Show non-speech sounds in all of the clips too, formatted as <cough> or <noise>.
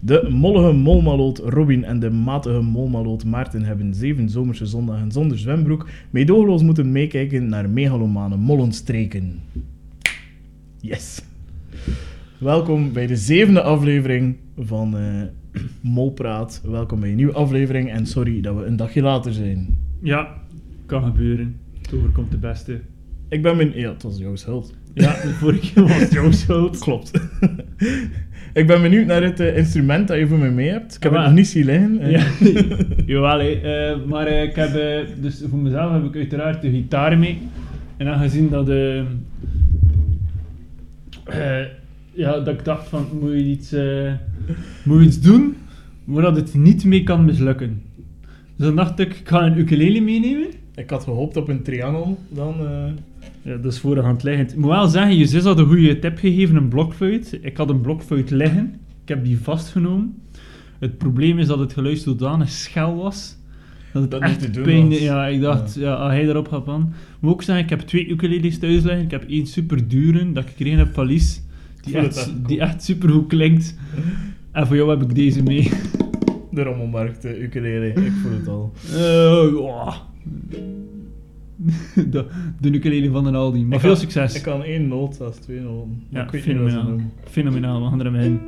De mollige molmaloot Robin en de matige molmaloot Maarten hebben zeven zomerse zondagen zonder zwembroek meedogenloos moeten meekijken naar megalomane mollenstreken. Yes. Welkom bij de zevende aflevering van eh, Molpraat. Welkom bij een nieuwe aflevering en sorry dat we een dagje later zijn. Ja, kan gebeuren. Tover komt de beste. Ik ben mijn... Ja, het was jouw schuld. Ja, de vorige keer was het jouw <laughs> schuld. Klopt. ik ben benieuwd naar het eh, instrument dat je voor me mee hebt. Ik heb Ah, het maar. nog niet zien liggen. eh. Ja, <laughs> jawel hé. Eh, <laughs> maar eh, ik heb, eh, dus voor mezelf heb ik uiteraard de gitaar mee. En aangezien dat, eh, eh, ja, dat ik dacht van, moet je iets, eh, moet je iets doen waar dat het niet mee kan mislukken. Dus dan dacht ik, ik ga een ukulele meenemen. Ik had gehoopt op een triangel, dan... eh, Ja, dat is voor de hand liggend. Ik moet wel zeggen, je zus had een goede tip gegeven, een blokfluit. Ik had een blokfluit liggen. Ik heb die vastgenomen. Het probleem is dat het geluid zodanig schel was. Dat het Dat niet echt te doen was. pijn deed. Ja, ik dacht, ja. als hij erop gaat van. Ik moet ook zeggen, ik heb twee ukuleles thuis liggen. Ik heb één super dure dat ik gekregen heb van Lies. <laughs> Die voel het echt, echt. die echt super goed klinkt. En voor jou heb ik deze <laughs> mee. De rommelmarkt, de ukulele, ik voel het al. Eh, ja. <laughs> de, de ukulele van de Aldi. Maar Ik veel kan- succes. Ik kan één noot als twee noten. maar Ja, ik weet niet wat ze fenomenaal. noemen. Fenomenaal, we gaan er hem in.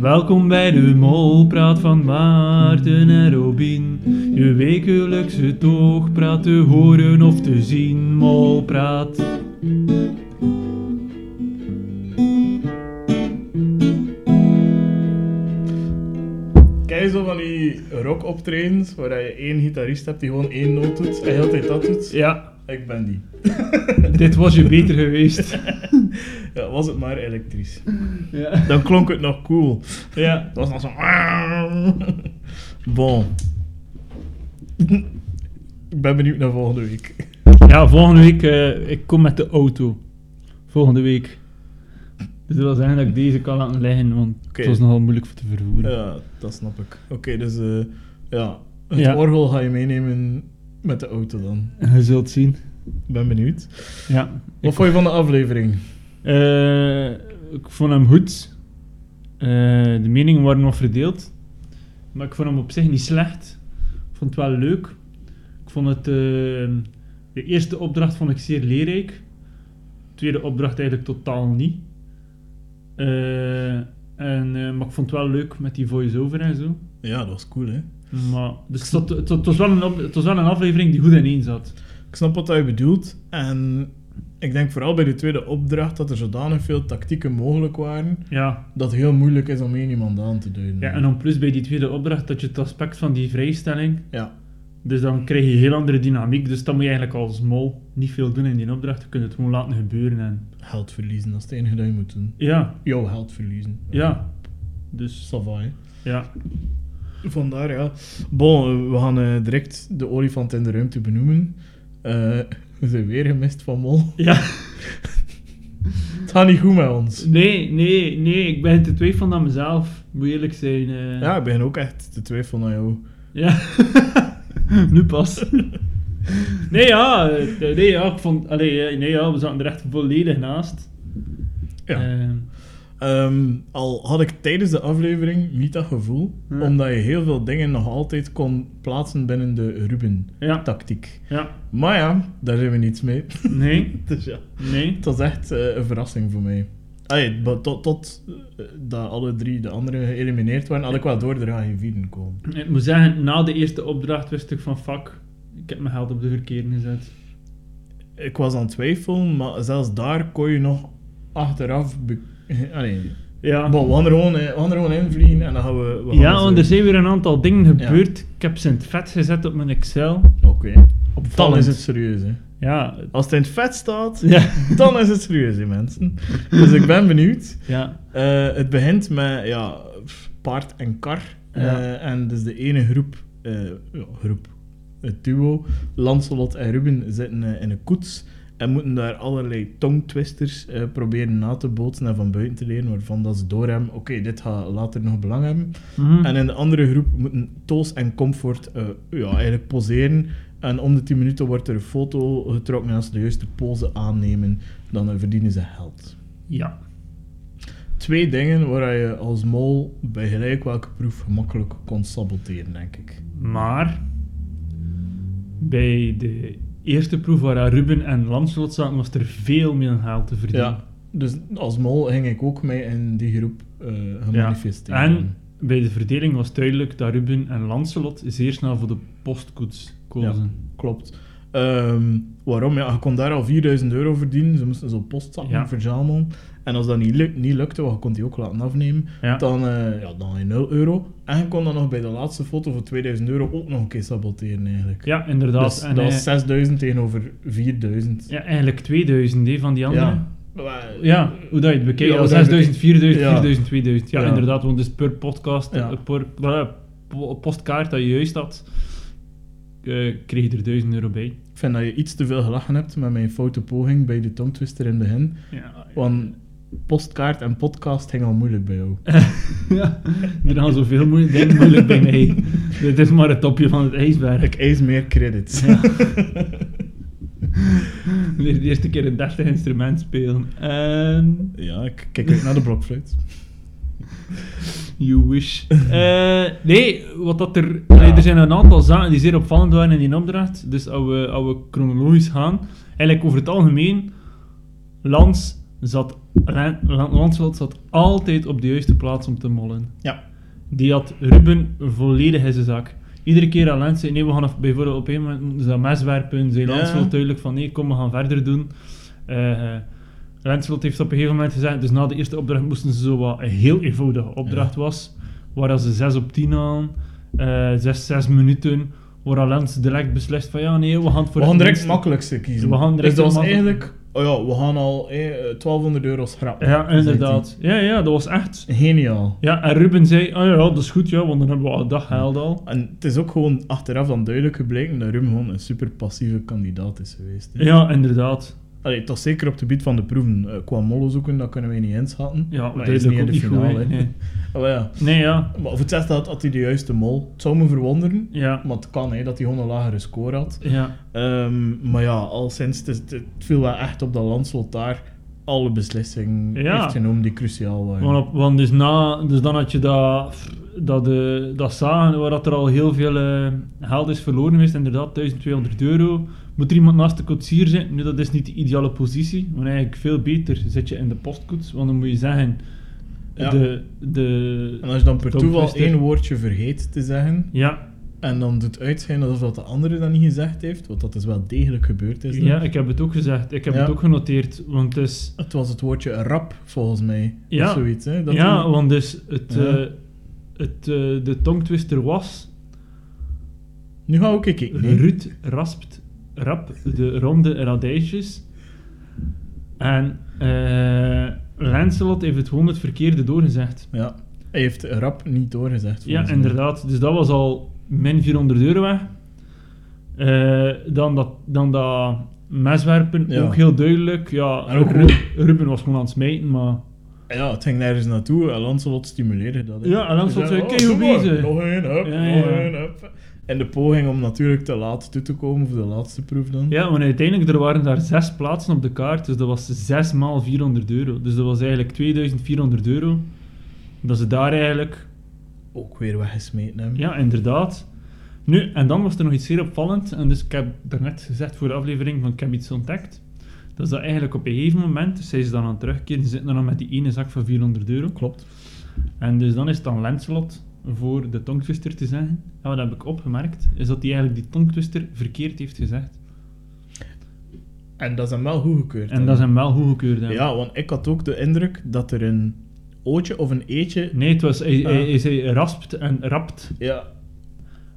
Welkom bij de Molpraat van Maarten en Robin. Je wekelijkse toogpraat te horen of te zien. Molpraat. Ken je zo van die rockoptredens, waar je één gitarist hebt die gewoon één noot doet en heel de tijd dat doet? Ja, Ik ben die. <laughs> dit was je beter geweest. Ja, was het maar elektrisch. Ja. Dan klonk het nog cool. ja. Dat was nog zo... <laughs> Bon. Ik ben benieuwd naar volgende week. Ja, volgende week, eh, ik kom met de auto. Volgende week. Dus dat wil zeggen dat ik deze kan laten liggen, want Oké. het was nogal moeilijk voor te vervoeren. Ja, dat snap ik. Oké, dus eh, ja, het Ja. orgel ga je meenemen met de auto dan. Je zult zien. Ben benieuwd. Ja. Ik, Wat vond je van de aflevering? eh, ik vond hem goed. Eh, de meningen waren nog verdeeld. Maar ik vond hem op zich niet slecht. Ik vond het wel leuk. Ik vond het... eh, de eerste opdracht vond ik zeer leerrijk. De tweede opdracht eigenlijk totaal niet. Eh, en, eh, maar ik vond het wel leuk met die voice-over en zo. Ja, dat was cool, hè? Maar, dus het, zat- het, zat- het was wel een op- het was wel een aflevering die goed ineen zat. Ik snap wat je bedoelt. En ik denk vooral bij de tweede opdracht dat er zodanig veel tactieken mogelijk waren, Ja. dat het heel moeilijk is om één iemand aan te duiden. ja, en dan plus bij die tweede opdracht dat je het aspect van die vrijstelling... Ja. Dus dan krijg je heel andere dynamiek. Dus dan moet je eigenlijk als mol niet veel doen in die opdracht. Je kunt het gewoon laten gebeuren. En... Geld verliezen, dat is het enige dat je moet doen. Ja, Jouw geld verliezen. ja. Dus, Savai. ja. Vandaar, ja. Bon, eh, we gaan eh, direct de olifant in de ruimte benoemen. Eh, <laughs> we zijn weer gemist van Mol. <laughs> Ja. Het gaat niet goed met ons. Nee, nee, nee. Ik ben te twijfelen aan mezelf. Moet eerlijk zijn. eh. Ja, ik begin ook echt te twijfelen aan jou. Ja. <laughs> nu pas. Nee, ja. eh, Nee, ja. Ik vond... Allee, eh, nee, ja. We zaten er echt volledig naast. Ja. Ehm, Ehm, al had ik tijdens de aflevering niet dat gevoel, Ja. omdat je heel veel dingen nog altijd kon plaatsen binnen de ja. Ruben-tactiek. Ja. Maar ja, daar zijn we niets mee. <laughs> Nee. Dus ja, Nee. het was echt eh, een verrassing voor mij. Allee, maar tot, tot eh, dat alle drie de anderen geëlimineerd waren, had ik wel door, er gaan geen vierden komen. Ik moet zeggen, na de eerste opdracht wist ik van fuck. Ik heb mijn geld op de verkeerde gezet. Ik was aan het twijfelen, maar zelfs daar kon je nog achteraf... Be- <laughs> Allee, Ja. bon, we gaan er gewoon, eh, we gaan er gewoon invliegen en dan gaan we... we gaan eh, Ja, ze- want er zijn weer een aantal dingen gebeurd. Ik heb ze in het vet gezet op mijn Excel. Oké. Dan Opvallend. is het serieus, hè. Ja. Als het in het vet staat, <laughs> Ja. dan is het serieus, hè, mensen. Dus ik ben benieuwd. ja. Eh, het begint met ja, pff, paard en kar. Eh, Ja. en dus de ene groep, eh, ja, groep, het duo, Lancelot en Ruben zitten eh, in een koets. En moeten daar allerlei tongtwisters eh, proberen na te bootsen en van buiten te leren, waarvan dat ze doorhebben, oké, dit gaat later nog belang hebben. Mhm. En in de andere groep moeten Toos en Comfort eh, ja, eigenlijk poseren. En om de 10 minuten wordt er een foto getrokken en als ze de juiste pose aannemen, dan eh, verdienen ze geld. Ja. Twee dingen waar je als mol bij gelijk welke proef gemakkelijk kon saboteren, denk ik. Maar bij de eerste proef waar Ruben en Lancelot zaten, was er veel meer geld te verdienen. Ja, dus als mol ging ik ook mee in die groep eh gemanifesteerd. En bij de verdeling was duidelijk dat Ruben en Lancelot zeer snel voor de postkoets kozen. Klopt. Ehm, waarom? Ja, je kon daar al 4000 euro verdienen. Ze moesten zo postzakken Ja. verzamelen. En als dat niet, luk- niet lukte, want je kon die ook laten afnemen, Ja. dan, eh, ja, dan had je 0 euro. En je kon dan nog bij de laatste foto voor 2000 euro ook nog een keer saboteren eigenlijk. Ja, inderdaad. dus en dat hij- was 6000 tegenover 4000. ja, eigenlijk 2000 hè, van die andere. Ja. Ja. hoe dat je het bekijkt. Ja, Ja, hoe dat je 6000, 4000, Ja. 4000, 2000. Ja, Ja. inderdaad, want dus per podcast, Ja. eh, per eh, po- postkaart dat je juist had, eh, kreeg je er 1000 euro bij. Ik vind dat je iets te veel gelachen hebt met mijn foute poging bij de tongtwister in de hen. Ja, Want postkaart en podcast ging al moeilijk bij jou. <laughs> ja. er gaan zoveel moeilijke dingen moeilijk bij <laughs> mij. Dit is maar het topje van het ijsberg. Ik eis meer credits. Ja. Weer de eerste keer een 30 instrument spelen. Ehm, <laughs> Ja, ik kijk uit naar de blokfluit. you wish. Eh, nee, wat dat er, nee, er zijn een aantal zaken die zeer opvallend waren in die opdracht. Dus als we, als we chronologisch gaan. Eigenlijk over het algemeen, Lans zat, Lan- Lan- Lancelot zat altijd op de juiste plaats om te mollen. Ja. Die had Ruben volledig in zijn zak. Iedere keer aan Lens zei, nee, we gaan af- bijvoorbeeld op een moment moeten ze dat mes werpen. Zei Ja. Lancelot duidelijk van, nee, kom, we gaan verder doen. Eh eh, Lancelot heeft op een gegeven moment gezegd, dus na de eerste opdracht moesten ze zo wat een heel eenvoudige opdracht Ja. was. Waar dat ze 6 op 10 aan, 6, 6 minuten. Waar dat Lens direct beslist van, ja, nee, we gaan het we voor gaan het direct minst- makkelijkste kiezen. We gaan direct dus dat was het makkelijkste. eigenlijk... Oh ja, we gaan al eh, 1200 euro schrappen. Ja, zei inderdaad. Ja, ja, dat was echt. hij. Geniaal. Ja, en Ruben zei, oh ja, dat is goed, ja, want dan hebben we al een dag gehaald al. En het is ook gewoon achteraf dan duidelijk gebleken dat Rum gewoon een super passieve kandidaat is geweest. hè. Ja, inderdaad. Allee, toch zeker op het gebied van de proeven. Eh, qua mollen zoeken, dat kunnen wij niet inschatten. Ja, maar hij is duidelijk ook niet goed, hè. hè. nee. Allee, ja. nee, ja. Maar of het zegt dat had hij de juiste mol. Het zou me verwonderen. Ja. Maar het kan, hè, dat hij gewoon een lagere score had. Ja. Ehm, maar ja, al sinds het, is- het viel wel echt op dat Lanslot daar alle beslissingen Ja. heeft genomen die cruciaal waren. Want, op- want dus, na, dus dan had je dat, dat, de, dat zagen waar dat er al heel veel eh, geld is verloren geweest. Inderdaad, 1200 euro. Moet er iemand naast de koetsier zitten? Nu, dat is niet de ideale positie. Maar eigenlijk veel beter zit je in de postkoets. Want dan moet je zeggen... Ja. De, de, En als je dan per de toeval tongtwister- één woordje vergeet te zeggen, Ja, en dan doet uitschijnen alsof dat de andere dat niet gezegd heeft, want dat is wel degelijk gebeurd. Is dat. ja, ik heb het ook gezegd. Ik heb Ja. het ook genoteerd. Want het is... Het was het woordje rap, volgens mij. Ja. Of zoiets, hè? Dat ja, toen- want dus het, Ja. eh, het, eh, de tongtwister was... Nu ga ik kijken. Nee. Ruud raspt rap de ronde radijsjes. En eh Lancelot heeft het gewoon het verkeerde doorgezegd. Ja. Hij heeft rap niet doorgezegd. Ja, volgens mij. inderdaad. Dus dat was al min 400 euro weg. Eh, dan, dat, dan dat meswerpen, Ja. ook heel duidelijk. Ja, En ook Ru- Ruben was gewoon aan het smijten, maar... Ja, het ging nergens naartoe. En Lancelot stimuleerde dat. hè. Ja, en Lancelot Hij zei, kijk hoe doe maar, bezig." Nog één, hup, Ja, ja. nog één, hup. En de poging om natuurlijk te laat toe te komen voor de laatste proef dan. Ja, want uiteindelijk er waren daar zes plaatsen op de kaart, dus dat was 6 maal 400 euro. Dus dat was eigenlijk 2400 euro. Dat ze daar eigenlijk Ook weer weggesmeten hebben. Ja, inderdaad. Nu, en dan was er nog iets zeer opvallend. En dus ik heb daarnet gezegd voor de aflevering van ik heb iets ontdekt. Dat is dat eigenlijk op een gegeven moment, dus zij is dan aan het terugkeren, ze zitten dan nog met die ene zak van 400 euro. Klopt. En dus dan is het dan Lancelot, voor de tongtwister te zeggen. En wat heb ik opgemerkt, is dat hij eigenlijk die tongtwister verkeerd heeft gezegd. En dat is hem wel goedgekeurd. En dat is hem wel goedgekeurd. hebben. Ja, want ik had ook de indruk dat er een ootje of een eetje... Nee, het was, hij, hij, Ah. hij zei raspt en rapt. Ja,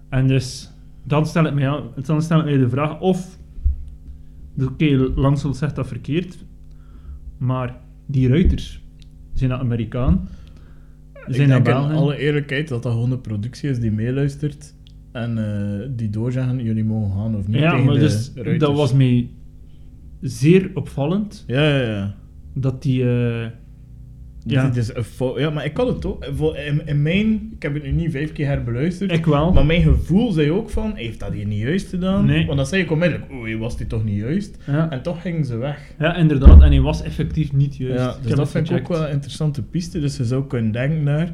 En dus, dan stel ik mij, aan- dan stel ik mij de vraag of... dus Oké, Lansel zegt dat verkeerd, maar die ruiters, zijn dat Amerikaan? Zijn ik dat denk in Belgen? alle eerlijkheid dat dat gewoon een productie is die meeluistert. En eh, die doorzeggen, jullie mogen gaan of niet ja, tegen maar de dus, ruiters. dat was mij zeer opvallend Ja, ja, ja. dat die... eh, Ja. ja, Dit is een fo- ja, maar ik kan het ook. eh, Voor- In, in mijn, ik heb het nu niet vijf keer herbeluisterd. ik wel. Maar mijn gevoel zei ook van, heeft dat hier niet juist gedaan? Nee. Want dan zei ik onmiddellijk, oei, was dit toch niet juist? ja. En toch gingen ze weg. ja, inderdaad. En hij was effectief niet juist. Ja, Ik dus heb dat het vind ik ook gecheckt. wel een interessante piste. Dus je zou kunnen denken naar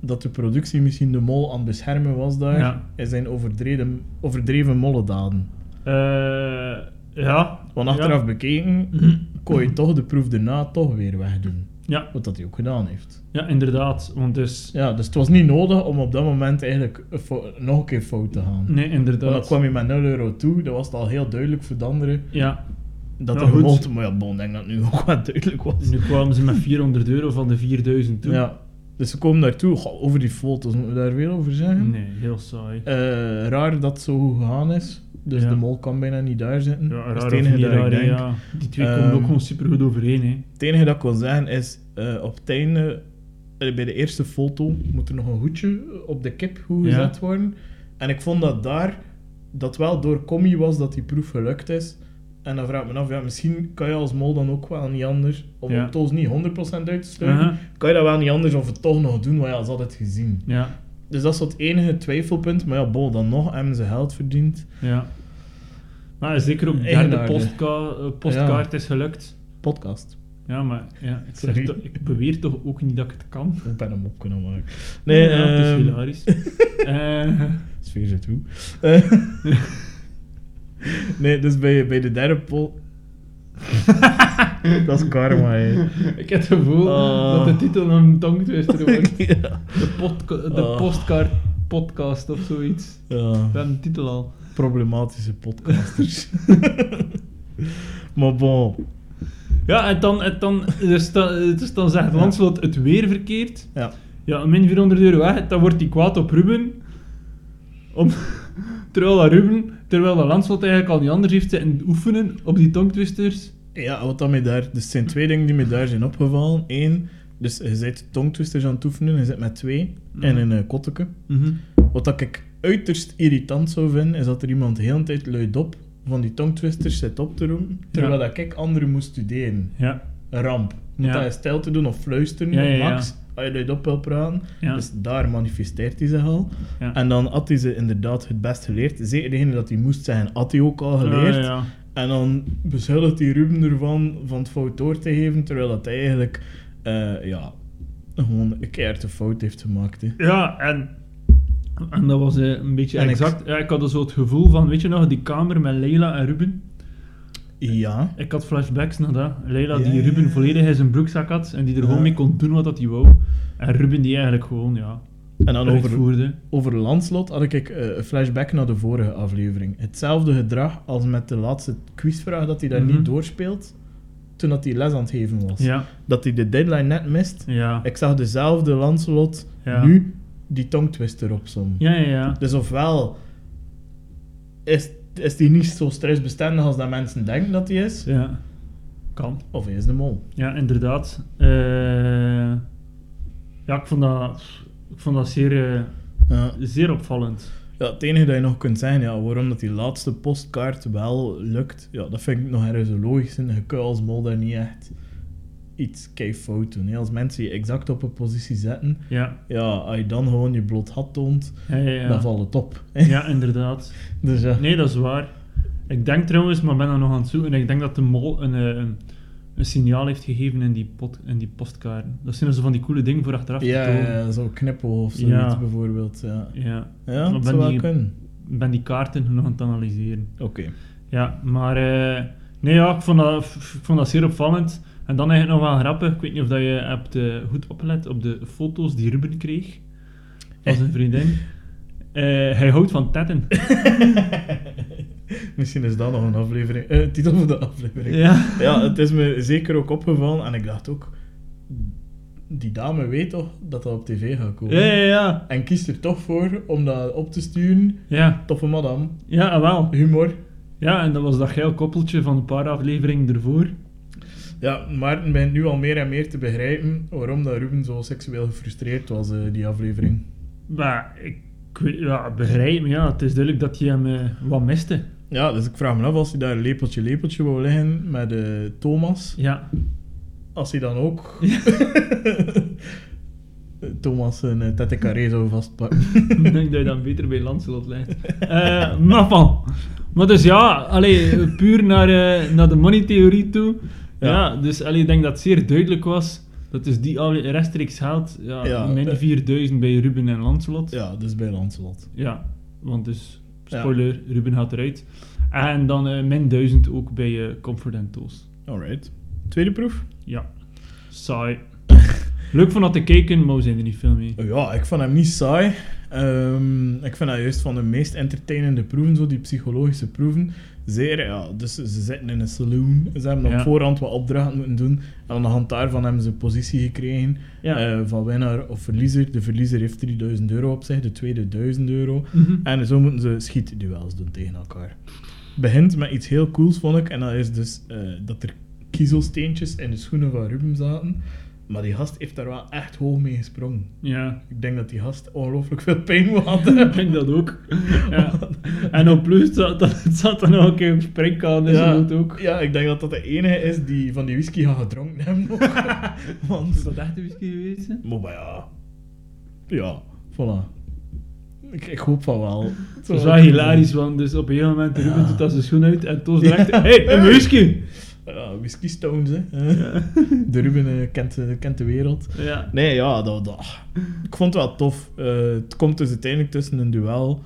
dat de productie misschien de mol aan het beschermen was daar. Ja. In zijn overdreven, overdreven mollendaden. Eh, ja. Want achteraf Ja. bekeken kon je toch de proef daarna toch weer wegdoen. Ja. Wat dat hij ook gedaan heeft. ja, inderdaad. Want dus... Ja, dus het was niet nodig om op dat moment eigenlijk een fo- nog een keer fout te gaan. Nee, Want dan inderdaad. kwam je met 0 euro toe, dat was het al heel duidelijk voor de anderen. Ja, Dat Ja, er goed. gemold, maar ja, bon, ik denk dat het nu <laughs> ook wel duidelijk was. nu kwamen ze met 400 euro van de 4000 toe. Ja. Dus ze komen daartoe, Goh, over die foto's moeten we daar weer over zeggen. Nee, heel saai. Eh, raar dat het zo goed gegaan is. Dus Ja. de mol kan bijna niet daar zitten. Ja, dat is raar het of enige niet dat raar, ik hè, denk. ja. Die twee Ehm, komen ook gewoon super goed overeen, hè. Het enige dat ik wil zeggen is, eh, op het einde, eh, bij de eerste foto, moet er nog een hoedje op de kip goed Ja. gezet worden. En ik vond dat daar, dat wel door commie was dat die proef gelukt is. En dan vraag ik me af, ja, misschien kan je als mol dan ook wel niet anders, om Ja. het toos niet 100% uit te sluiten, Aha, kan je dat wel niet anders of het toch nog doen, want ja, ze had het gezien. Ja, Dus dat is zo het enige twijfelpunt, maar ja, bol, dan nog hebben ze geld verdiend. ja. Maar zeker op de derde Eigenaardig. postka eh, postkaart is gelukt. Podcast. Ja, maar ja, ik, zeg Sorry. toch- ik beweer toch ook niet dat ik het kan. Ik ben hem op kunnen maken. Nee, ja, het is ehm, <laughs> hilarisch. Eh, <laughs> Sfeer zit hoe. Eh, <laughs> nee, dus bij, bij de derde pol. <laughs> dat is karma, hè. ik heb het gevoel Oh. dat de titel een tongtwister wordt. <laughs> ja. De, podca- de Oh. postkaart podcast of zoiets. We hebben de titel al. problematische podcasters. <laughs> maar bon. Ja, en dan, en dan, dus dan, dus dan zegt Lancelot het weer verkeerd. Ja. Ja, min 400 euro weg, dan wordt hij kwaad op Ruben. Om, <laughs> terwijl dat Ruben, terwijl dat Lancelot eigenlijk al niet anders heeft zitten oefenen op die tongtwisters. Ja, wat dan mij daar... Dus er zijn twee dingen die mij daar zijn opgevallen. Eén, dus je zit tongtwisters aan het oefenen. Je zit met twee en een eh, kotteke. Wat dat ik uiterst irritant zou vinden, is dat er iemand de hele tijd luidop van die tongtwisters zit op te roepen, terwijl dat ik anderen moest studeren. Ja, Een ramp. Moet Ja. dat je stijl te doen of fluisteren, Ja, ja, of ja. max, als je luidop wil praten. ja. Dus daar manifesteert hij zich al. Ja. En dan had hij ze inderdaad het best geleerd. Zeker degene dat hij moest zeggen, had hij ook al geleerd. Ah, Ja, ja. En dan beschuldigt hij Ruben ervan van het fout door te geven, terwijl dat hij eigenlijk, eh, ja, gewoon een keer de fout heeft gemaakt. Hè. Ja, en, en dat was eh, een beetje En ik- exact. ja, ik had dus zo het gevoel van, weet je nog, die kamer met Leila en Ruben. Ja. Ik had flashbacks naar dat. Leila die Ja, ja, Ruben ja. volledig in zijn broekzak had en die er gewoon Ja. mee kon doen wat dat hij wou. En Ruben die eigenlijk gewoon, ja, En dan over, uitvoerde. Over Landslot had ik eh, een flashback naar de vorige aflevering. Hetzelfde gedrag als met de laatste quizvraag dat hij daar Mhm. niet doorspeelt. Toen dat hij les aan het geven was. Ja, Dat hij de deadline net mist. ja. Ik zag dezelfde Lancelot Ja. nu die tongtwister opzommen. Ja, ja, ja. Dus ofwel is, is die niet zo stressbestendig als dat mensen denken dat hij is. Ja. Kan. Of hij is de mol. Ja, inderdaad. Eh, ja, ik vond dat, ik vond dat zeer, eh, Ja. zeer opvallend. Ja, het enige dat je nog kunt zeggen, ja, waarom dat die laatste postkaart wel lukt, ja, dat vind ik nog ergens zo logisch. En je kunt als mol daar niet echt iets kei fout doen. hè. Als mensen je exact op een positie zetten, Ja, ja, als je dan gewoon je bloot had toont, ja, ja. ja. dan valt het op. <laughs> Ja, inderdaad. Dus ja. Nee, dat is waar. Ik denk trouwens, maar ben er nog aan het zoeken, ik denk dat de mol een, eh, een, een signaal heeft gegeven in die, pot, in die postkaarten. Dat zijn er zo van die coole dingen voor achteraf te Ja, tonen. ja, zo'n knippel of zoiets Ja. bijvoorbeeld. Ja, Ja, ja Maar dat zou ben wel die- kunnen. ik ben die kaarten nog aan het analyseren. Oké. Ja, maar eh, nee, ja, ik vond, dat, ik vond dat zeer opvallend. En dan eigenlijk nog wel grappig, ik weet niet of dat je hebt eh, goed opgelet op de foto's die Ruben kreeg van zijn vriendin. Eh, hij houdt <laughs> van tetten. <laughs> Misschien is dat nog een aflevering. eh, titel van de aflevering. Ja. Ja, het is me zeker ook opgevallen en ik dacht ook, die dame weet toch dat dat op tv gaat komen. Ja, ja, ja. En kiest er toch voor om dat op te sturen. Ja, Toffe madame, ja, ah, wel. humor. Ja, en dat was dat geil koppeltje van een paar afleveringen ervoor. Ja, Maarten begint nu al meer en meer te begrijpen waarom dat Ruben zo seksueel gefrustreerd was, eh, die aflevering. Maar ik, ik weet, ja, begrijp me, ja. Het is duidelijk dat je hem eh, wat miste. Ja, dus ik vraag me af als hij daar lepeltje lepeltje wou liggen met eh, Thomas. Ja. Als hij dan ook... <laughs> Thomas een eh, tête carré zou vastpakken. <laughs> Ik denk dat je dan beter bij Lancelot lijkt. Eh maar van. Maar dus ja, allee, puur naar, eh, naar de moneytheorie toe. Ja. Ja. dus allee, ik denk dat het zeer duidelijk was dat dus die alle rechtstreeks geld, ja, Ja, min eh. 4000 bij Ruben en Lancelot. Ja, ja, dus bij Lancelot. want dus, Ja. spoiler, Ruben gaat eruit. En dan eh, min 1000 ook bij eh, Comfort and Tools. Alright. Tweede proef? Ja, saai. <laughs> Leuk van dat te kijken, maar we zijn er niet veel mee. Ja, ik vond hem niet saai. Ehm, ik vind dat juist van de meest entertainende proeven, zo die psychologische proeven. Zeer, ja, dus ze zitten in een saloon. Ze hebben Ja. op voorhand wat opdrachten moeten doen. En aan de hand daarvan hebben ze een positie gekregen Ja. eh, van winnaar of verliezer. De verliezer heeft 3000 euro op zich, de tweede 1000 euro. Mhm. En zo moeten ze schietduels doen tegen elkaar. Begint met iets heel cools, vond ik. En dat is dus eh, dat er kiezelsteentjes in de schoenen van Ruben zaten. Maar die gast heeft daar wel echt hoog mee gesprongen. Ja, <laughs> Ik denk dat die gast ongelooflijk veel pijn moet had. Ik denk dat ook. Ja. En op plus zat, dat, zat dan ook een springkaan in zijn hoed ook. ja, ik denk dat dat de enige is die van die whisky gaat gedronken hebben. Is <laughs> Want... dat echt een whisky geweest? hè? Maar, maar ja... Ja, voilà. Ik, ik hoop van wel. Dat was wel hilarisch, want dus op een gegeven moment Ruben Ja. doet dat zijn schoen uit en Toos direct, Ja. hey, een whisky! Ja, whisky stones, hè. De Ruben eh, kent, eh, kent de wereld. Ja. Nee, ja, dat, dat. ik vond het wel tof. Eh, het komt dus uiteindelijk tussen een duel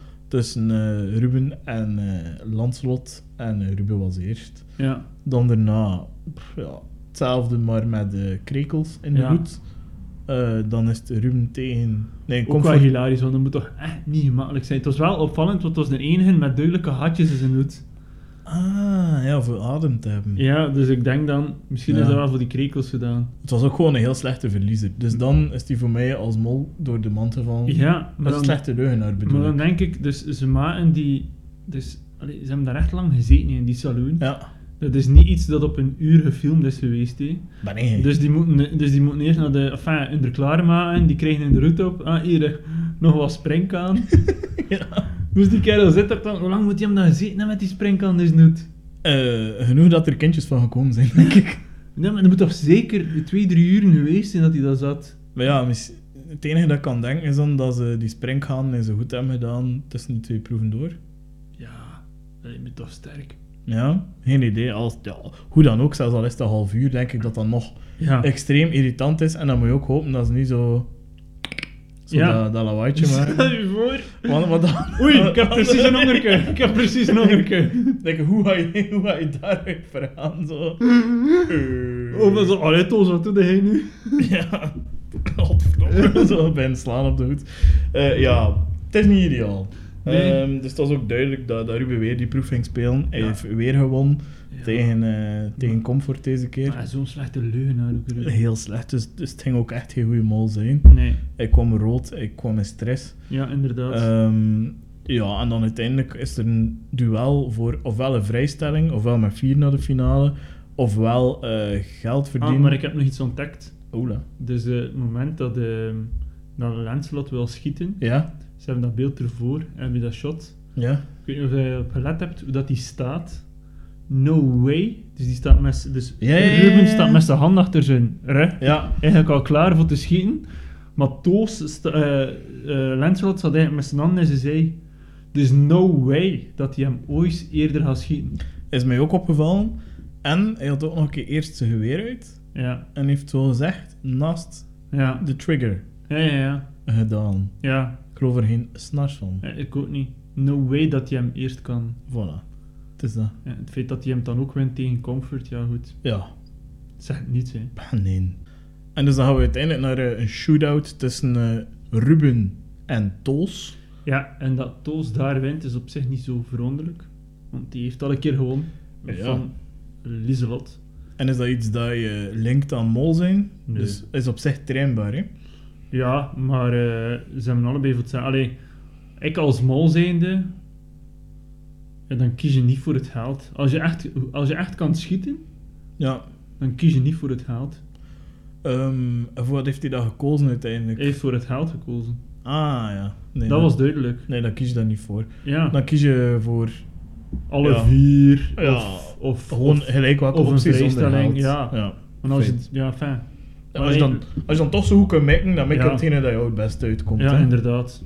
tussen eh, Ruben en eh Lanslot. En eh, Ruben was eerst. Ja. Dan daarna pff, ja, hetzelfde, maar met eh, krekels in de Ja. hoed. Eh, dan is het Ruben tegen. Nee, Ook wel comfort. hilarisch, want dat moet toch echt niet gemakkelijk zijn. Het was wel opvallend, want het was de enige met duidelijke hatjes in zijn hoed. Ah, ja, voor adem te hebben. Ja, dus ik denk dan, misschien is Ja. dat wel voor die krekels gedaan. Het was ook gewoon een heel slechte verliezer. Dus dan is die voor mij als mol door de mand gevallen. Ja, Dat maar is een dan- slechte leugenaar bedoel Maar ik. dan denk ik, dus ze maken die... Dus, allee, ze hebben daar echt lang gezeten in die saloon. Ja, Dat is niet iets dat op een uur gefilmd is geweest. Hé. ben ik. Dus, die moeten, dus die moeten eerst naar de... Enfin, hun er klaar maken. Die krijgen hun route op. Ah, hier, eh, nog <laughs> wat springkaan. <laughs> Ja. dus die kerel zit er dan... Hoe lang moet hij hem dan gezeten hebben met die springkaan dus doet? Eh, genoeg dat er kindjes van gekomen zijn, denk ik. Nee, maar dat moet toch zeker twee, drie uren geweest zijn dat hij dat zat? Maar ja, mis- het enige dat ik kan denken is dan dat ze die springgaan en ze goed hebben gedaan tussen die twee proeven door. Ja, dat is me toch sterk. Ja, geen idee. Als, ja, hoe dan ook, zelfs al is het een half uur, denk ik dat dat nog Ja. extreem irritant is. En dan moet je ook hopen dat ze niet zo... zo Ja. dat, dat lawaaitje <laughs> maken. Stel je voor... Want, Oh. want dan, Oei, ik heb <laughs> precies een hongerke. Ik heb precies een hongerke. Denk, ik, hoe ga je, hoe ga je daaruit vergaan? Zo. Oh, maar zo... Allee, Toos, wat doe jij nu? <laughs> <laughs> Ja, godverdomme. Zo bij een slaan op de hoed. Eh, ja, het is niet ideaal. Nee. Ehm, dus dat is ook duidelijk dat, dat Ruben weer die proef ging spelen. Hij Ja. heeft weer gewonnen Ja. tegen, eh, tegen Comfort deze keer. Maar zo'n slechte leugenaar ook. Ruud. Heel slecht, dus, dus het ging ook echt geen goede mol zijn. Mm. Nee. Ik kwam rood, ik kwam in stress. Ja, inderdaad. Ehm, ja, en dan uiteindelijk is er een duel voor ofwel een vrijstelling, ofwel met vier naar de finale, ofwel eh, geld verdienen. ah, maar ik heb nog iets ontdekt. Oula. Dus eh, het moment dat, eh, dat Lancelot wil schieten, Ja? ze hebben dat beeld ervoor, hebben je dat shot. Ja? Ik weet niet of je op gelet hebt hoe dat die staat. No way. Dus die staat met... z- Dus Ja, ja, ja, ja, Ruben ja. staat met zijn hand achter zijn rug. Ja. Eigenlijk al klaar voor te schieten. Maar Toos... sta- eh, eh, Lancelot staat eigenlijk met zijn hand in zijn zij. Dus no way dat hij hem ooit eerder gaat schieten. Is mij ook opgevallen. En hij had ook nog een keer eerst zijn geweer uit. Ja. En heeft zo gezegd naast Ja. de trigger Ja, ja, ja. gedaan. Ja, Ik geloof er geen snars van. Ja, ik ook niet. No way dat hij hem eerst kan. Voilà. Het is dat. Ja, het feit dat hij hem dan ook wint tegen Comfort, ja goed. Ja. Het zegt niets, hè. Ah, Nee. En dus dan gaan we uiteindelijk naar eh, een shootout tussen eh, Ruben en Toos. Ja, en dat Toos daar wint is op zich niet zo veronderlijk. Want die heeft al een keer gewonnen Ja. van Lieselot. En is dat iets dat je linkt aan mol zijn? Nee. Dus is op zich trainbaar, hè? Ja, maar eh, ze hebben allebei voor hetzelfde. Allee, ik als mol zijnde... Ja, dan kies je niet voor het geld. Als je echt, als je echt kan schieten, Ja. dan kies je niet voor het geld. Ehm, en voor wat heeft hij dat gekozen uiteindelijk? Hij heeft voor het geld gekozen. Ah, ja. Nee, dat was duidelijk. Nee, daar kies je dan niet voor. Ja. Dan kies je voor Alle Ja. vier. Ja. Of, of, Gewoon of- gelijk welke of een opties vrijstelling, onderhaalt. ja. ja. want als feit. het, ja, fijn. En als, je dan, als je dan toch zo goed kunt mikken, dan mik je Ja. hetgene dat jou het best uitkomt. Ja, hè. inderdaad.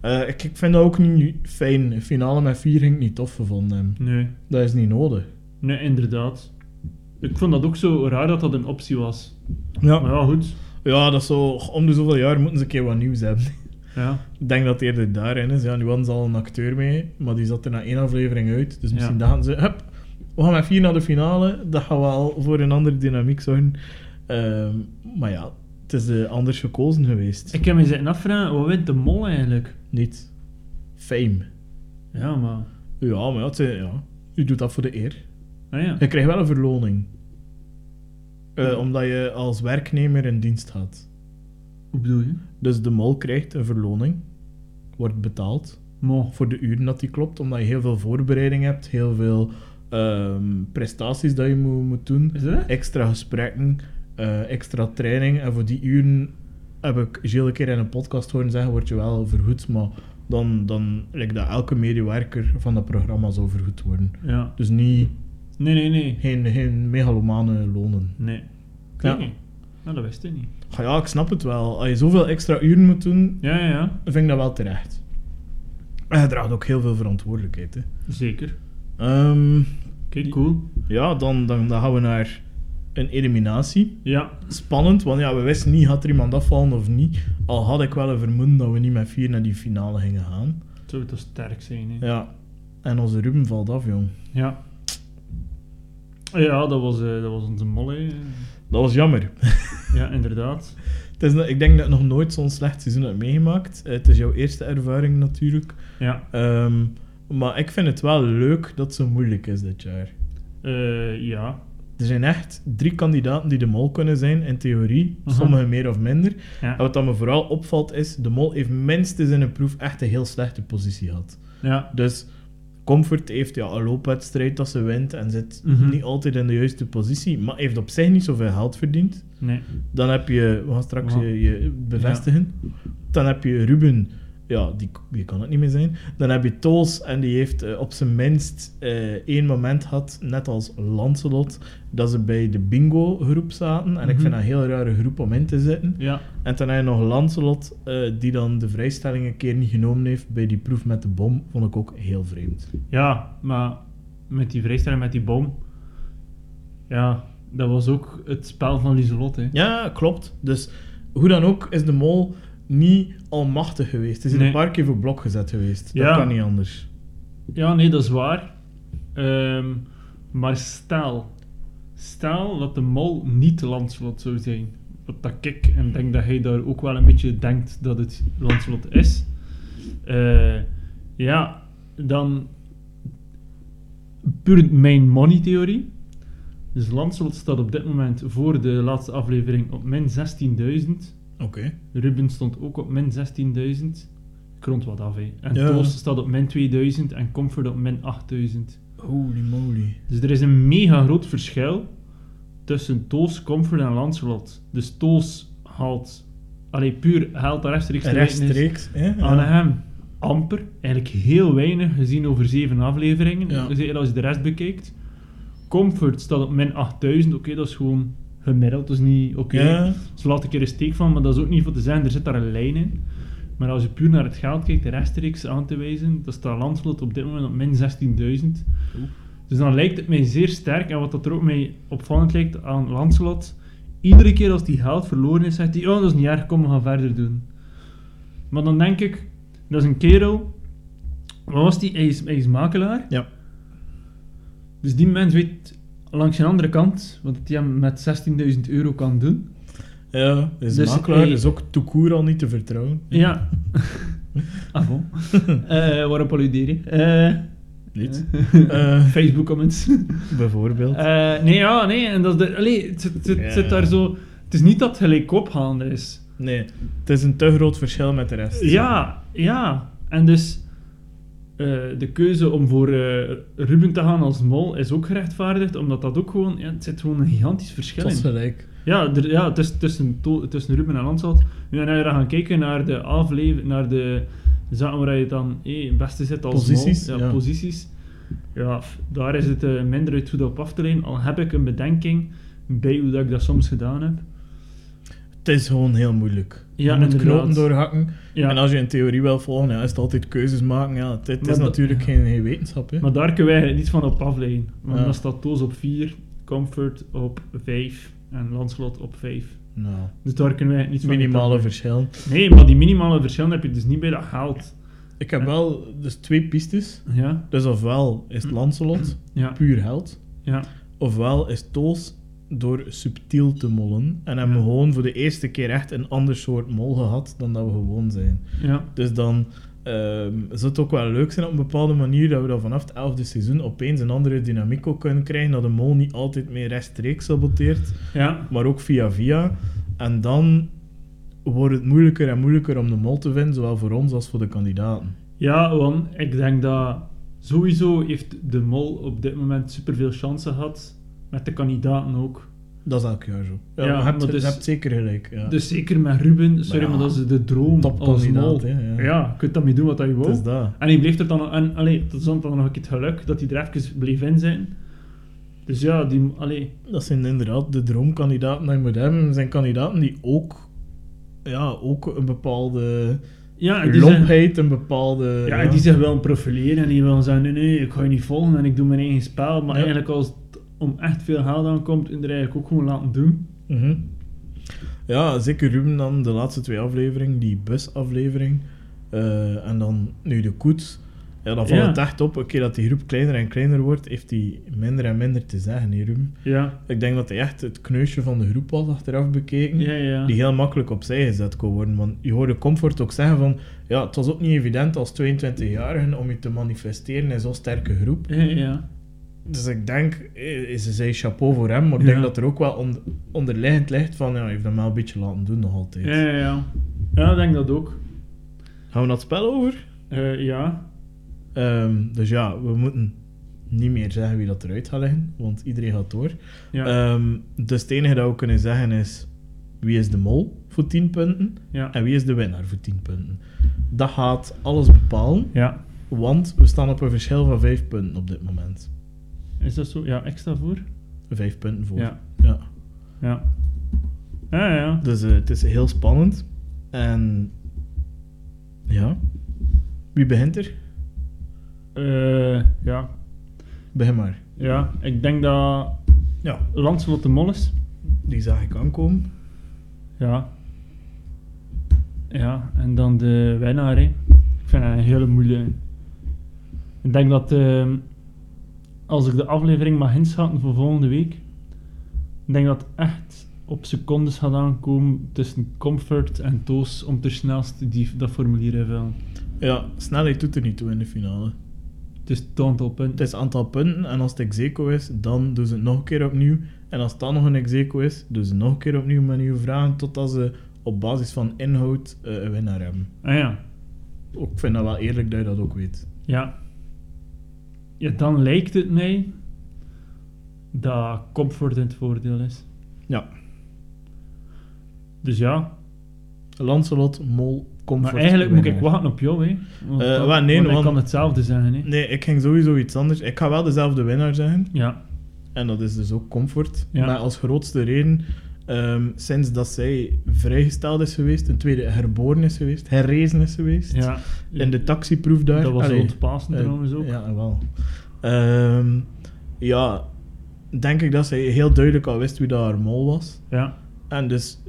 Eh, ik, ik vind dat ook niet fijn. Een Finale met vier ging ik niet tof gevonden. hebben. Nee. Dat is niet nodig. nee, inderdaad. Ik vond dat ook zo raar dat dat een optie was. Maar Ja, ja, goed. ja dat is zo. Om de zoveel jaar moeten ze een keer wat nieuws hebben. <laughs> Ja, Ik denk dat het eerder daarin is. Ja, nu hadden ze al een acteur mee, maar die zat er na één aflevering uit. Dus misschien Ja. dachten ze, hup, we gaan met vier naar de finale. Dat gaan we al voor een andere dynamiek zorgen. Ehm, maar ja, het is eh, anders gekozen geweest. ik heb me zitten afvragen, wat wint de mol eigenlijk? Niet fame. Ja, maar... Ja, maar ja, het zijn- ja, u doet dat voor de eer. Ah ja. Je krijgt wel een verloning. Eh, omdat je als werknemer in dienst gaat. Hoe bedoel je? Dus de mol krijgt een verloning. Wordt betaald. Mo. voor de uren dat die klopt, omdat je heel veel voorbereiding hebt, heel veel ehm, prestaties dat je moet, moet doen, Is dat het? extra gesprekken, eh, extra training. En voor die uren heb ik Gilles een keer in een podcast horen zeggen, word je wel vergoed, maar dan, dan lijkt dat elke medewerker van dat programma zou vergoed worden. Ja. Dus niet, Nee, nee, nee. geen, geen megalomane lonen. Nee. Ik Ja. weet niet. Nou, dat wist ik niet. Ja, ja, ik snap het wel. Als je zoveel extra uren moet doen, Ja, ja, ja. vind ik dat wel terecht. En je draagt ook heel veel verantwoordelijkheid. Hè. Zeker. Ehm, Oké, cool. Ja, dan, dan, dan gaan we naar een eliminatie. Ja. Spannend, want ja, we wisten niet, gaat er iemand afvallen of niet. Al had ik wel een vermoeden dat we niet met vier naar die finale gingen gaan. Het zou toch sterk zijn, hè? Ja. En onze Ruben valt af, jong. Ja. Ja, dat was, eh, dat was onze mol, hè. Dat was jammer. Ja, inderdaad. Het is, no- ik denk dat ik nog nooit zo'n slecht seizoen heb meegemaakt. Eh, Het is jouw eerste ervaring natuurlijk. Ja. Ehm, maar ik vind het wel leuk dat het zo moeilijk is dit jaar. Eh, ja. Er zijn echt drie kandidaten die de mol kunnen zijn, in theorie. Mhm. Sommigen meer of minder. En Ja. wat dat me vooral opvalt is, de mol heeft minstens in een proef echt een heel slechte positie gehad. Ja. Dus Comfort heeft ja, een loopwedstrijd dat ze wint en zit Mhm. niet altijd in de juiste positie, maar heeft op zich niet zoveel geld verdiend. Nee. Dan heb je, we gaan straks Ja. je, je bevestigen. Dan heb je Ruben, ja, die, die kan het niet meer zijn. Dan heb je Toos en die heeft eh, op zijn minst eh, één moment gehad, net als Lancelot, dat ze bij de bingo groep zaten. En ik Mhm. vind dat een heel rare groep om in te zitten. Ja. En dan heb je nog Lancelot, eh, die dan de vrijstelling een keer niet genomen heeft bij die proef met de bom. Vond ik ook heel vreemd. Ja, maar met die vrijstelling met die bom. Ja, dat was ook het spel van Lieselot, hè. Ja, klopt. Dus hoe dan ook is de mol niet almachtig geweest. Hij is Nee. een paar keer voor blok gezet geweest. Dat Ja. kan niet anders. Ja, nee, dat is waar. Ehm, maar stel, stel dat de mol niet Lancelot zou zijn. Wat dat ik, en ik denk dat hij daar ook wel een beetje denkt dat het Lancelot is. Eh, ja, dan puur mijn money theorie. Dus Lancelot staat op dit moment voor de laatste aflevering op min 16.000. Oké. Ruben stond ook op min 16.000. Kront wat af, hè. En Ja. Toos staat op min 2000 en Comfort op min 8000. Holy moly. Dus er is een mega groot verschil tussen Toos, Comfort en Lancelot. Dus Toos haalt... Allee, puur haalt daar rechtstreeks de Ah, wijtnis Rechtstreeks. hè? aan Ja. hem. Amper. Eigenlijk heel weinig, gezien over zeven afleveringen. Ja. Zeker als je de rest bekijkt. Comfort staat op min 8000. Oké, dat is gewoon gemiddeld. Dat is niet... Oké, Ja. ze laat een keer een steek van, maar dat is ook niet voor te zijn. Er zit daar een lijn in. Maar als je puur naar het geld kijkt, rechtstreeks aan te wijzen, dan staat Lanslot op dit moment op min 16.000. Oeh. Dus dan lijkt het mij zeer sterk. En wat dat er ook mij opvallend lijkt aan Lanslot, iedere keer als die geld verloren is, zegt hij, oh, dat is niet erg, kom, we gaan verder doen. Maar dan denk ik, dat is een kerel... Wat was die? Hij is, hij is makelaar. Ja. Dus die mens weet langs een andere kant wat hij hem met 16.000 euro kan doen. Ja, is Dus makelaar. hij- Is ook toekoer al niet te vertrouwen. <laughs> Ja. <laughs> ah bon. Eh, waarop alludeer je? Eh, <laughs> Niet. eh, Eh, Facebook comments. bijvoorbeeld. Eh, nee, ja, nee. En dat is de, allee, het, zit- het zit- Ja. zit daar zo... Het is niet dat het gelijk opgaande is. Nee. Het is een te groot verschil met de rest. Ja, ja. En dus eh, de keuze om voor eh, Ruben te gaan als mol is ook gerechtvaardigd, omdat dat ook gewoon... Ja, het zit gewoon een gigantisch verschil Dat is in. gelijk. Ja, er, ja tussen, tussen, to- tussen Ruben en Lanslot. Nu en als je dan gaan kijken naar de aflevering, naar de zaken waar je dan hé, het beste zit als Posities, mol. ja. posities. Ja, f- daar is het eh, minder uit goed op af te leiden. Al heb ik een bedenking bij hoe dat ik dat soms gedaan heb. Het is gewoon heel moeilijk. Ja, je moet inderdaad. knopen doorhakken. Ja, En als je een theorie wil volgen, ja, is het altijd keuzes maken. Ja, het, het Maar is dat- natuurlijk ja. geen, geen wetenschap. Hè. maar daar kunnen wij het niet van op afleiden. Want Ja. dan staat Toos op 4, Comfort op 5 en Landslot op 5. nou, Dus daar kunnen wij het niet van minimale op verschil. afleiden. Nee, maar die minimale verschillen heb je dus niet bij dat geld. Ik heb wel dus twee pistes. Ja, Dus ofwel is het Lancelot ja, puur held, ja. ofwel is Toos door subtiel te mollen en hebben we Ja. gewoon voor de eerste keer echt een ander soort mol gehad dan dat we gewoon zijn. ja. Dus dan ehm, zou het ook wel leuk zijn op een bepaalde manier dat we dan vanaf het elfde seizoen opeens een andere dynamiek ook kunnen krijgen, dat de mol niet altijd meer rechtstreeks saboteert. Ja, maar ook via via. En dan wordt het moeilijker en moeilijker om de mol te vinden, zowel voor ons als voor de kandidaten. ja, want ik denk dat sowieso heeft de mol op dit moment superveel kansen gehad. Met de kandidaten ook. Dat is elk jaar zo. Ja, Ja, je, hebt, maar je dus- hebt zeker gelijk. Ja. Dus zeker met Ruben, sorry, ja, maar, dat is de droom als mol. topkandidaat, hè, ja. Ja, je kunt daarmee doen wat je het is wil. dat. En hij bleef er dan... En, allee, dat is dan nog een keer het geluk dat hij er even bleef in zijn. Dus ja, die... Allee, Dat zijn inderdaad de droomkandidaten die je moet hebben. Dat zijn kandidaten die ook, ja, ook een bepaalde ja, en die zijn, lompheid, een bepaalde... ja, en die zich wel profileren en die wil zeggen, nee, nee, ik ga je niet volgen en ik doe mijn eigen spel. Maar Ja. eigenlijk als het om echt veel geld aankomt, en er eigenlijk ook gewoon laten doen. Mhm. Ja, zeker Ruben dan, de laatste twee afleveringen, die busaflevering. eh, en dan nu de koets. Ja, dan valt Ja. het echt op, een keer dat die groep kleiner en kleiner wordt, heeft hij minder en minder te zeggen, hè, Ruben. Ja, Ik denk dat hij echt het kneusje van de groep was, achteraf bekeken. ja, ja. Die heel makkelijk opzij gezet kon worden. Want je hoorde Comfort ook zeggen van... Ja, het was ook niet evident als 22-jarigen om je te manifesteren in zo'n sterke groep. Ja, ja. Dus ik denk, eh, ze zei chapeau voor hem, maar ik Ja. denk dat er ook wel on- onderliggend ligt van, ja, hij heeft hem wel een beetje laten doen nog altijd. Ja, ja, ja. Ja, ik denk dat ook. Gaan we naar het spel over? Eh, ja. Ehm, dus ja, we moeten niet meer zeggen wie dat eruit gaat liggen, want iedereen gaat door. Ja. Ehm, dus het enige dat we kunnen zeggen is, wie is de mol voor 10 punten ja. en wie is de winnaar voor 10 punten. Dat gaat alles bepalen, Ja. want we staan op een verschil van 5 punten op dit moment. Is dat zo? Ja, extra voor? 5 punten voor. Ja. ja. Ja. Ja, ja. Dus eh, het is heel spannend. En ja, wie begint er? Eh, ja. Begin maar. Ja, ik denk dat Ja, Lancelot de Mol is. die zag ik aankomen. Ja. Ja, en dan de winnaar, hè. Ik vind dat een hele moeilijke. Ik denk dat ehm, als ik de aflevering mag inschatten voor volgende week, ik denk dat het echt op secondes gaat aankomen tussen Comfort en Toos om ter snelst die, dat formulier in te vullen. Ja, snelheid doet er niet toe in de finale. Het is het aantal punten. Het is aantal punten en als het execo is, dan doen ze het nog een keer opnieuw. En als het dan nog een execo is, doen ze nog een keer opnieuw met nieuwe vragen, totdat ze op basis van inhoud eh, een winnaar hebben. Ah ja. Ook, ik vind dat wel eerlijk dat je dat ook weet. Ja. Ja, dan lijkt het mij dat comfort in het voordeel is. Ja, Dus ja, Lancelot, Mol, Comfort, maar eigenlijk moet ik winnaar. wachten op jou, hè. Want, Eh, dat- wel, nee, want ik want- kan hetzelfde zeggen, hè. Nee, ik ging sowieso iets anders. Ik ga wel dezelfde winnaar zeggen. Ja, En dat is dus ook comfort. Ja. Maar als grootste reden, ehm, sinds dat zij vrijgesteld is geweest, een tweede herboren is geweest, herrezen is geweest, ja. in de taxiproef daar. Dat was Allee, rond Pasen eh, trouwens ook. Ja, wel. Ehm, ja, denk ik dat zij heel duidelijk al wist wie dat haar mol was. Ja, En dus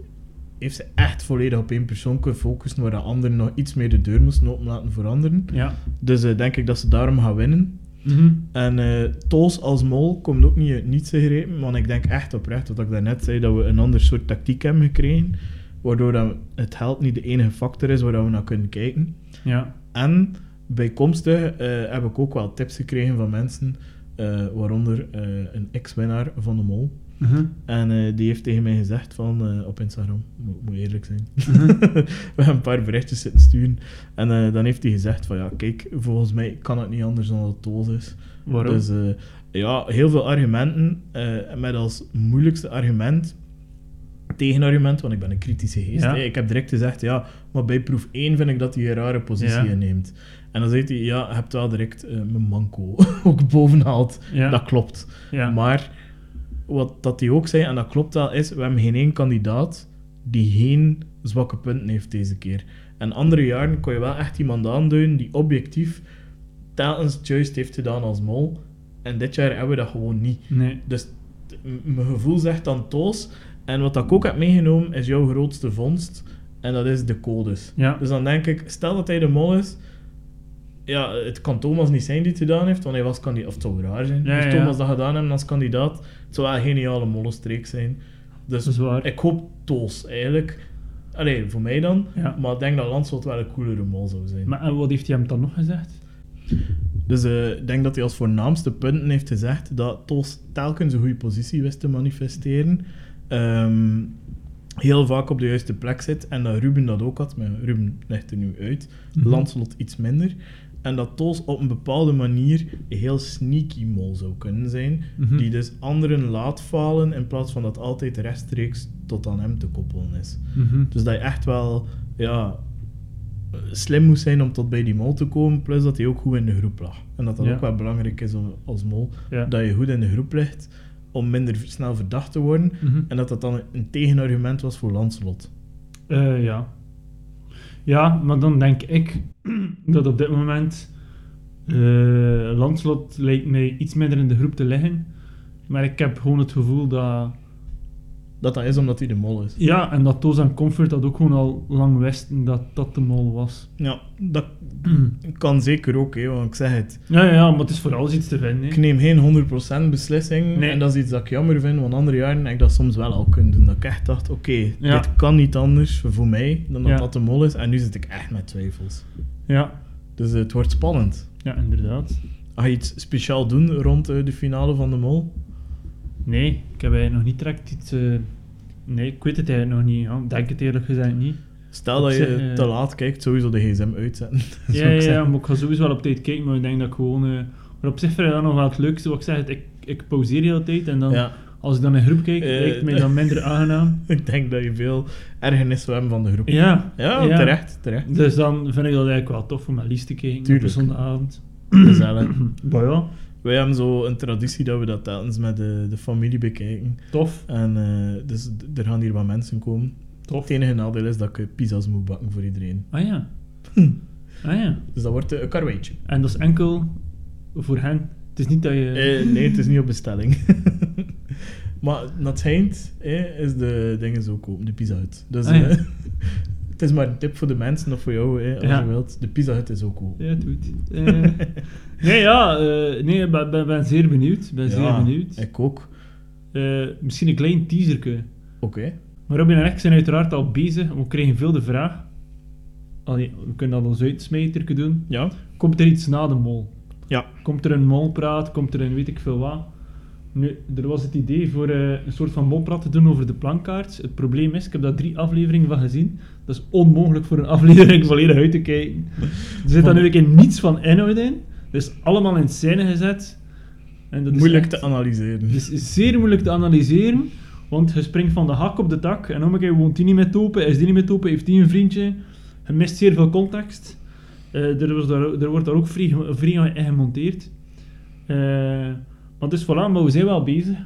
heeft ze echt volledig op één persoon kunnen focussen, waar de anderen nog iets meer de deur moesten open laten voor anderen. ja. Dus eh, denk ik dat ze daarom gaan winnen. Mhm. En eh, Toos als mol komt ook niet uit niets gegrepen, want ik denk echt oprecht, wat ik daarnet zei, dat we een ander soort tactiek hebben gekregen, waardoor dat het geld niet de enige factor is waar dat we naar kunnen kijken. Ja, En bijkomstig eh, heb ik ook wel tips gekregen van mensen, eh, waaronder eh, een ex-winnaar van de mol. Mhm. En eh, die heeft tegen mij gezegd van, eh, op Instagram, moet, moet eerlijk zijn, Mhm. <laughs> we hebben een paar berichtjes zitten sturen. En eh, dan heeft hij gezegd van, ja kijk, volgens mij kan het niet anders dan dat het Toos is. Waarom? Dus eh, ja, heel veel argumenten. eh, met als moeilijkste argument tegenargument, want ik ben een kritische geest. Ja. hè. Ik heb direct gezegd, ja, maar bij proef 1 vind ik dat hij een rare positie Ja. inneemt. En dan zegt hij, ja, je hebt wel direct eh, mijn manco <laughs> ook bovenhaald. Ja. Dat klopt. Ja. Maar wat dat hij ook zei, en dat klopt wel, is we hebben geen één kandidaat die geen zwakke punten heeft deze keer. En andere jaren kon je wel echt iemand aanduiden die objectief telkens het juist heeft gedaan als mol. En dit jaar hebben we dat gewoon niet. Nee. Dus t- m- mijn gevoel zegt dan toos. En wat dat ik ook heb meegenomen, is jouw grootste vondst. En dat is de codes. Ja. Dus dan denk ik, stel dat hij de mol is. Ja, het kan Thomas niet zijn die het gedaan heeft, want hij was kandidaat. Of het zou raar zijn. Ja, Moest ja, ja. Thomas dat gedaan hebben als kandidaat. Het zou wel een geniale mollenstreek zijn. Dus Dat is waar. ik hoop Toos eigenlijk. Allee, voor mij dan. Ja. Maar ik denk dat Lanslot wel een coolere mol zou zijn. Maar en wat heeft hij hem dan nog gezegd? Dus eh, ik denk dat hij als voornaamste punten heeft gezegd dat Toos telkens een goede positie wist te manifesteren. Ehm, heel vaak op de juiste plek zit. En dat Ruben dat ook had, maar Ruben legt er nu uit. Mhm. Lanslot iets minder. En dat Toos op een bepaalde manier een heel sneaky mol zou kunnen zijn. Mhm. Die dus anderen laat falen in plaats van dat altijd rechtstreeks tot aan hem te koppelen is. Mhm. Dus dat je echt wel ja, slim moest zijn om tot bij die mol te komen. Plus dat hij ook goed in de groep lag. En dat dat Ja. ook wel belangrijk is om- als mol. Ja. Dat je goed in de groep ligt om minder v- snel verdacht te worden. Mhm. En dat dat dan een tegenargument was voor Lancelot. Eh, ja. Ja, maar dan denk ik <clears throat> dat op dit moment eh Landslot lijkt mij iets minder in de groep te liggen. Maar ik heb gewoon het gevoel dat... Dat dat is omdat hij de mol is. Ja, en dat Toos en Comfort dat ook gewoon al lang wisten dat dat de mol was. Ja, <clears throat> dat kan zeker ook, hè, want ik zeg het. Ja, ja, ja, maar het is voor alles iets te vinden. Ik hè. neem geen 100% beslissing. Nee. En dat is iets dat ik jammer vind, want andere jaren heb ik dat soms wel al kunnen doen. Dat ik echt dacht, oké, Ja. dit kan niet anders voor mij dan dat Ja. dat de mol is. En nu zit ik echt met twijfels. Ja, Dus het wordt spannend. ja, inderdaad. Ga je iets speciaal doen rond eh, de finale van de Mol? Nee, ik heb eigenlijk nog niet direct iets... eh, Nee, ik weet het eigenlijk nog niet. Ja. Ik denk het eerlijk gezegd niet. Stel Op dat je zich, eh, te laat kijkt, sowieso de gsm uitzetten. <laughs> zou Ja, ik ja, ja, zeggen. maar ik ga sowieso wel op tijd kijken, maar ik denk dat ik gewoon... eh, maar op zich vind ik dat nog wel het leukste, wat ik zeg, ik, ik pauzeer de hele tijd en dan, Ja, <laughs> als ik dan in groep kijk, Eh, lijkt het mij <laughs> dan minder aangenaam. ik denk dat je veel ergernis wil hebben van de groep. Ja, Ja, terecht, terecht. Dus dan vind ik dat eigenlijk wel tof om naar Lies te kijken op Tuurlijk. een zondagavond. Gezellig. <clears throat> Maar ja, Wij hebben zo een traditie dat we dat telkens met de, de familie bekijken. tof, En eh, dus d- er gaan hier wat mensen komen. tof. Het enige nadeel is dat ik pizza's moet bakken voor iedereen. <laughs> Ah ja. Ah ja. Dus dat wordt eh, een karweitje. En dat is enkel voor hen. Het is niet dat je... Eh, nee, het is niet op <laughs> bestelling. maar naar het schijnt eh, is de dingen zo open, de Pizza Hut. Dus Ah, ja. eh, <laughs> het is maar een tip voor de mensen of voor jou, eh, als Ja. je wilt. De Pizza Hut is ook open. Ja, het doet. <laughs> Eh, nee, ja, eh, nee, ik ben, ben, ben zeer benieuwd. Ben zeer benieuwd. Ik ook. Eh, misschien een klein teaserke. Oké. Maar Robin en ik zijn uiteraard al bezig. We kregen veel de vraag. Allee, we kunnen dat als uitsmijterke doen. Ja. Komt er iets na de mol? Ja. Komt er een molpraat? Komt er een weet ik veel wat? Nu, er was het idee voor eh, een soort van molpraat te doen over de plankaarts. Het probleem is, ik heb daar drie afleveringen van gezien. Dat is onmogelijk voor een <laughs> aflevering volledig uit te kijken. Er zit daar nu een keer niets van inhoud in. Dat is allemaal in scène gezet. En dat is Moeilijk echt- te analyseren. het is Dus zeer moeilijk te analyseren, want je springt van de hak op de tak en om een keer woont die niet met open, is die niet met open, heeft die een vriendje. Je mist zeer veel context. Eh, er, was daar, er wordt daar ook vrij, vrij in gemonteerd. Eh, maar dus voilà, maar we zijn wel bezig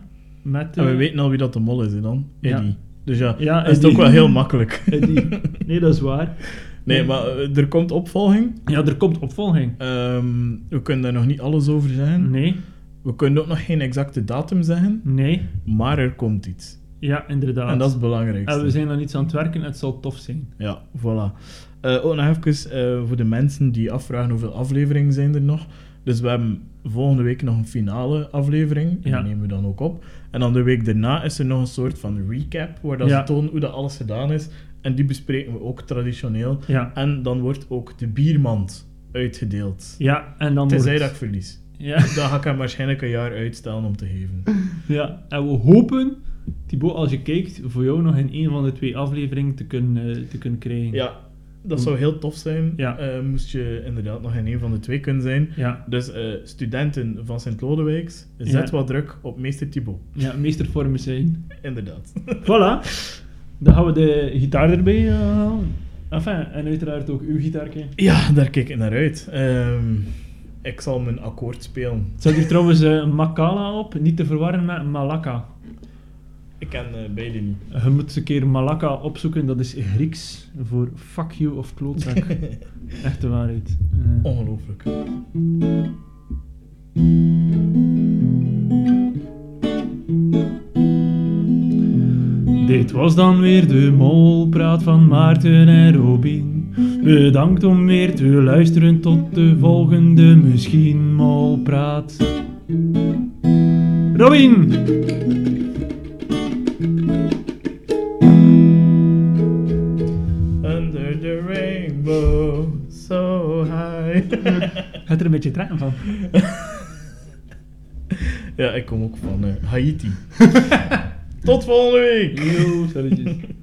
met... En we eh, weten al wie dat de mol is, hè, dan. Ja. Eddie. Dus ja, Ja, is het ook Eddie. wel heel makkelijk. <laughs> <laughs> eh, die- nee, dat is waar. nee, maar eh, er komt opvolging. Ja, er komt opvolging. Ehm, we kunnen daar nog niet alles over zeggen. Nee, We kunnen ook nog geen exacte datum zeggen. nee. Maar er komt iets. Ja, inderdaad. En dat is het belangrijkste. en we zijn aan iets aan het werken, het zal tof zijn. Ja, voilà. Eh, ook nog even eh, voor de mensen die afvragen hoeveel afleveringen zijn er nog. Dus we hebben volgende week nog een finale aflevering. Ja. Die nemen we dan ook op. En dan de week daarna is er nog een soort van recap, waar dat Ja. ze tonen hoe dat alles gedaan is. En die bespreken we ook traditioneel. Ja, En dan wordt ook de biermand uitgedeeld. ja en dan Tenzij wordt- dat ik verlies. Ja. Dan ga ik hem waarschijnlijk een jaar uitstellen om te geven. Ja, en we hopen, Thibaut, als je kijkt, voor jou nog in een van de twee afleveringen te kunnen, eh, te kunnen krijgen. Ja, dat zou heel tof zijn. Ja. Eh, moest je inderdaad nog in een van de twee kunnen zijn. Ja, Dus eh, studenten van Sint-Lodewijks, zet Ja. wat druk op meester Thibaut. ja meestervormen zijn. Inderdaad. <laughs> Voilà. Dan gaan we de gitaar erbij eh, halen. enfin, en uiteraard ook uw gitaarke. Ja, daar kijk ik naar uit. Ehm, ik zal mijn akkoord spelen. Er staat hier trouwens eh, Makala op, niet te verwarren met Malaka. <laughs> Ik ken eh, beide niet. Je moet een keer Malaka opzoeken, dat is Grieks voor fuck you of klootzak. <laughs> Echt de waarheid. Eh. Oh. Ongelooflijk. Dit was dan weer de molpraat van Maarten en Robin. Bedankt om weer te luisteren tot de volgende misschien molpraat. Robin! Under the rainbow, so high. <laughs> Gaat er een beetje trekken van. <laughs> ja, ik kom ook van eh, Haiti. Tot volgende week! Yo, salutjes.